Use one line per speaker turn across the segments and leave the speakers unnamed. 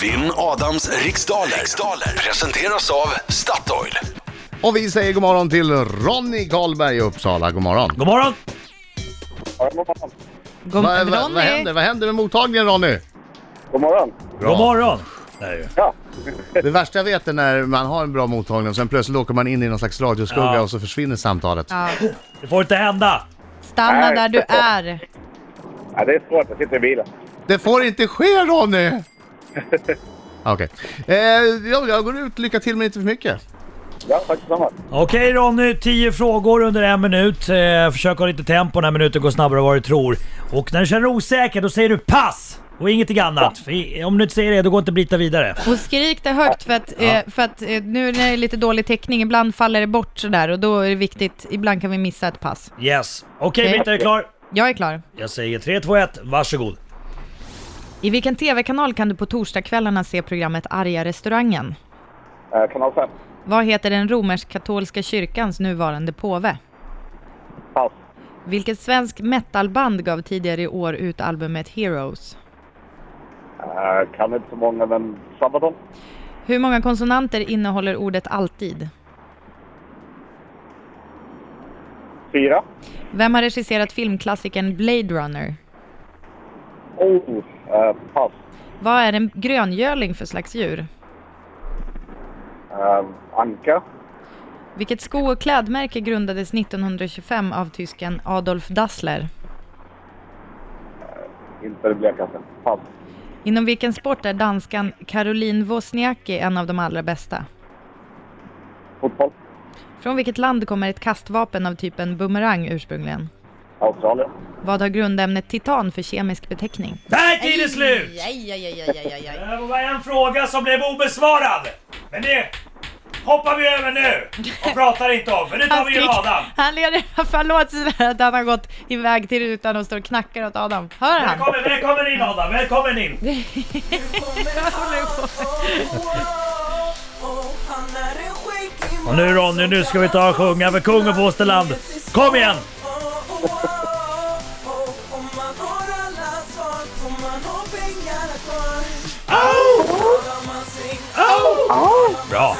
Vinn Adams riksdaler. riksdaler presenteras av Statoil.
Och vi säger god morgon till Ronny Karlberg i Uppsala. God morgon.
God morgon!
Ja, god morgon.
God,
Vad-
Ronny,
vad- vad händer? Vad händer med mottagningen Ronny?
God morgon.
Bra.
God morgon! Nej.
Ja.
Det värsta jag vet är när man har en bra mottagning och sen plötsligt åker man in i någon slags radioskugga
Ja.
och så försvinner samtalet.
ja,
Det får inte hända!
stanna
Nej.
där du är.
ja, det är svårt. Jag sitter i bilen.
Det får inte ske Ronny! Okej. Eh, jag, jag går ut, lycka till men inte för mycket.
Ja, tack detsamma.
Okej Ronny, 10 frågor under en minut. Eh, försök ha lite tempo när minuten går snabbare än vad du tror. Och när du känner dig osäker, då säger du pass! Och ingenting annat. För i- om du inte säger det, då går inte Brita vidare.
Och skrik det högt för att, eh, för att eh, nu när det är lite dålig täckning, ibland faller det bort sådär och då är det viktigt, ibland kan vi missa ett pass.
Yes. Okej
Okej.
Brita, är du klar?
Jag är klar.
Jag säger 3, 2, 1, varsågod.
I vilken TV-kanal kan du på torsdagskvällarna se programmet Arga restaurangen?
Eh, kanal 5.
Vad heter den romersk-katolska kyrkans nuvarande påve?
Pass.
Vilket svensk metalband gav tidigare i år ut albumet Heroes?
Eh, kan inte så många, men Sabaton.
Hur många konsonanter innehåller ordet alltid?
Fyra.
Vem har regisserat filmklassikern Blade Runner?
Oh, eh, pass.
Vad är en gröngöling för slags djur?
Eh, Anka.
Vilket sko och klädmärke grundades 1925 av tysken Adolf Dassler?
Inte det blekaste. Pass.
Inom vilken sport är danskan Caroline Wozniacki en av de allra bästa?
Fotboll.
Från vilket land kommer ett kastvapen av typen bumerang ursprungligen?
Australien.
Vad har grundämnet titan för kemisk beteckning?
Där tid är slut!
Aj, aj, aj, aj, aj, aj.
Det var en fråga som blev obesvarad. Men det hoppar vi över nu och pratar inte om. För nu tar
Han,
vi ju
skrik,
Adam.
han leder i alla fall åt sådär att han har gått iväg till rutan och står och knackar åt Adam. Hör han?
Välkommen, välkommen in Adam, välkommen in!
Och nu Ronny, nu ska vi ta och sjunga för kung och fosterland. Kom igen!
Bra!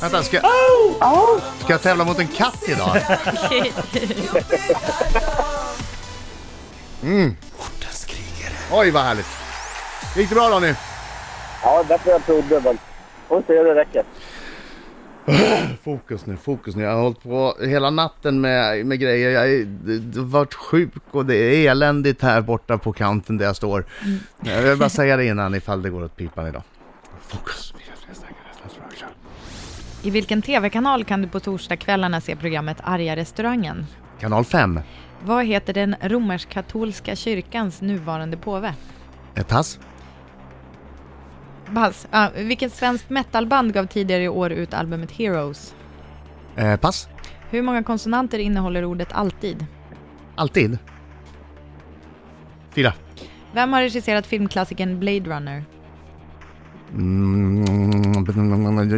Vänta, ska, ska jag tävla mot en katt idag?
Ortens krigare.
Oj vad härligt. Gick det bra Ronny?
Ja, det tror jag trodde, men får se hur det räcker.
Fokus nu, fokus nu. Jag har hållit på hela natten med, med grejer. Jag är- d- har varit sjuk och det är eländigt här borta på kanten där jag står. Jag vill bara säga det innan ifall det går åt pipan idag. Fokus.
I vilken tv-kanal kan du på torsdagskvällarna se programmet Arga restaurangen?
Kanal 5.
Vad heter den romersk-katolska kyrkans nuvarande påve?
Ett Eh, pass.
Pass. Ah, vilket svenskt metalband gav tidigare i år ut albumet Heroes?
Eh, pass.
Hur många konsonanter innehåller ordet alltid?
Alltid. Fyra.
Vem har regisserat filmklassikern Blade Runner?
Mm,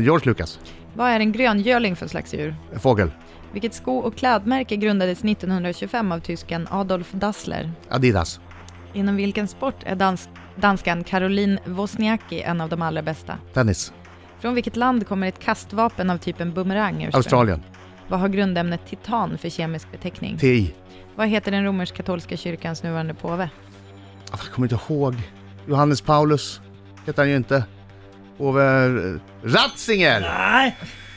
George Lucas.
Vad är en gröngöling för slags djur?
Fågel.
Vilket sko och klädmärke grundades 1925 av tysken Adolf Dassler?
Adidas.
Inom vilken sport är dans danskan Caroline Wozniacki en av de allra bästa?
Tennis.
Från vilket land kommer ett kastvapen av typen bumerang ursprungligen?
Australien.
Vad har grundämnet titan för kemisk beteckning?
TI.
Vad heter den romersk-katolska kyrkans nuvarande påve?
Ah, Jag kommer inte ihåg. Johannes Paulus heter han ju inte. Ove Ratzinger!
Nej,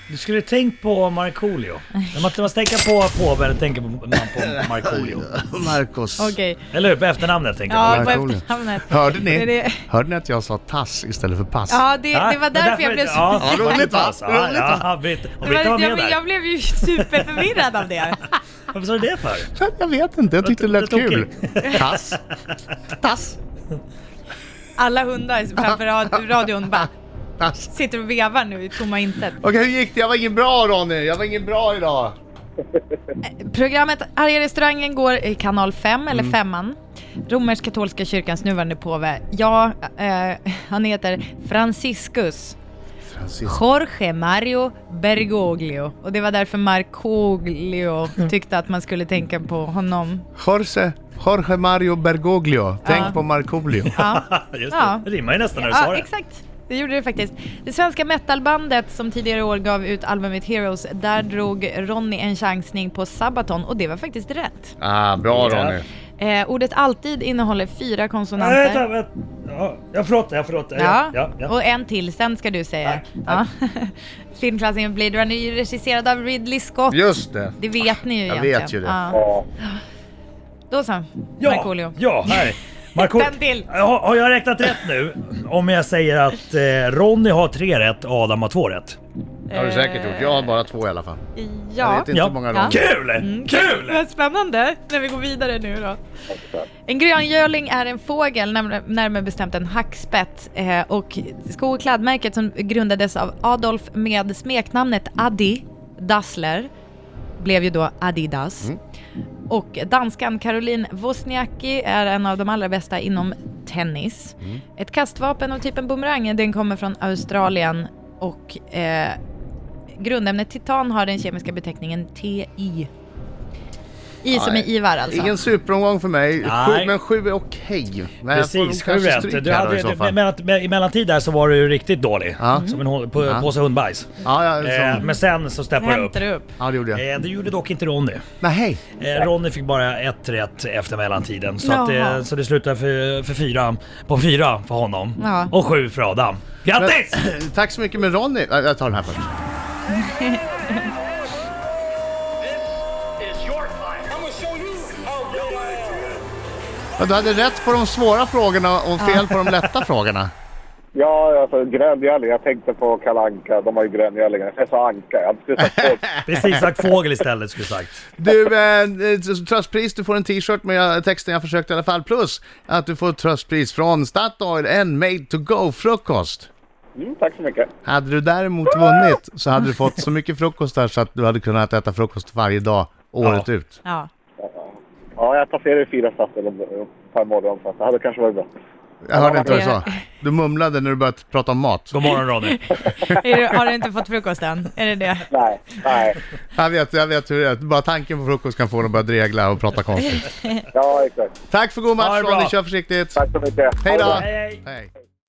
du skulle tänkt på Markoolio. När man, man tänker på påven tänker man på Markoolio.
Marcos.
Okej.
Eller hur? På efternamnet tänker jag.
Ja,
var
på
cool.
efternamnet.
Hörde
Det är
ni?
det-
Hörde ni att jag sa tass istället för pass?
Ja, det,
Ja,
det var därför jag blev så...
Ja,
Ja, roligt, va?
alltså. Ja, ja,
Roligt, va?
ja, Britt- och
Det var,
Britta var med
jag, jag
där.
blev ju superförvirrad av det.
Varför sa du det för?
Jag vet inte, jag tyckte det lät
Det är
kul.
tokigt.
Tass. Tass.
Alla hundar framför rad- radion bara
Tass.
sitter och vevar nu i tomma intet.
Okej, hur gick det? Jag var ingen bra Ronny. Jag var ingen bra idag.
Programmet Arga restaurangen går i kanal 5, eller
Mm.
femman. Romersk-katolska kyrkans nuvarande påve, ja, eh, han heter Franciscus
Francisco.
Jorge Mario Bergoglio. Och det var därför Markoglio tyckte att man skulle tänka på honom.
Jorge Jorge Mario Bergoglio. Tänk på Markoolio.
Ja.
Just
Ja.
det. Det rimmar ju nästan när du sa
Ja,
det.
exakt. Det gjorde det faktiskt. Det svenska metalbandet som tidigare i år gav ut albumet Heroes, där drog Ronny en chansning på Sabaton och det var faktiskt rätt.
Ah, bra
Ja.
Ronny.
Eh, ordet alltid innehåller fyra
Nej, vänta,
konsonanter.
vänta. Ja, jag förlåter, jag förlåter.
Ja,
ja, ja.
och en till, sen ska du säga.
Tack, tack.
Ja. Filmklassiken Blade Runner är ju regisserad av Ridley Scott.
Just det.
Det vet ni ju
Jag
egentligen.
vet ju det.
Ja.
Ja.
Då så,
Ja,
Markoolio.
Ja, här. Marco,
Den till.
Har, har jag räknat rätt nu? Om jag säger att eh, Ronny har tre rätt, Adam har två rätt.
Det har du säkert gjort. Jag har bara två i alla fall. Jag
Ja.
vet inte
Ja.
hur många Mm.
Ja.
Ronny.
Kul! Kul!
Vad spännande när vi går vidare nu då. En gröngöling är en fågel, närmare- närmare bestämt en hackspett. eh, Och sko och kladdmärket som grundades av Adolf med smeknamnet Adi Dassler blev ju då Adidas. Och danskan Caroline Wozniacki är en av de allra bästa inom tennis. Ett kastvapen av typen boomerang, den kommer från Australien och eh, grundämnet titan har den kemiska beteckningen TI. I som är
Nej.
Ivar alltså.
Ingen superomgång för mig,
Nej.
sju, men sju är okej. Men jag får
Precis, sju
kanske
rätt.
stryk
Du
här
hade,
då i så
du,
fall.
mellan, me- i mellantid där så var du ju riktigt dålig. Mm.
Ja.
Som en hå- på,
Ja.
påse hundbajs.
Ja, ja,
Eh,
så,
men sen så steppade du upp.
Hämtar du upp.
ja, det gjorde jag.
Eh, det gjorde dock inte Ronny.
Nej, hej.
Eh, Ronny fick bara ett rätt efter mellantiden. Så, att, eh,
Jaha.
så det slutade för, för fyra, på fyra för honom.
Ja.
Och sju för Adam. Grattis!
Tack så mycket med Ronny. Äh, Jag tar den här först. Ja, Du hade rätt på de svåra frågorna och fel på de lätta frågorna.
Ja, alltså gröngöling. Jag tänkte på Kalanka. De har ju gröngölingar. Jag sa anka. Jag hade precis sagt på-
Precis sagt fågel istället skulle sagt.
Du, eh, eh, tröstpris, du får en t-shirt med jag- texten jag försökte i alla fall. Plus att du får ett tröstpris från Statoil, en made to go-frukost.
mm, Tack så mycket.
Hade du däremot vunnit så hade du fått så mycket frukost där så att du hade kunnat äta frukost varje dag året
Ja.
ut.
Ja.
Ja, jag passerar ju fyra stadsdelar om- per morgon. Så att det hade kanske varit bra.
Jag hörde inte vad du sa. Du mumlade när du började prata om mat.
God morgon Ronny.
Är du, har du inte fått frukost än? Är det det?
Nej, nej.
Jag vet, jag vet hur det är. Bara tanken på frukost kan få dem att börja dregla och prata konstigt.
Ja, exakt.
Tack för god
Ha det
match
bra.
Ronny, kör försiktigt.
Tack så mycket.
Hej
Ha det bra.
då!
Hej, hej.
Hej.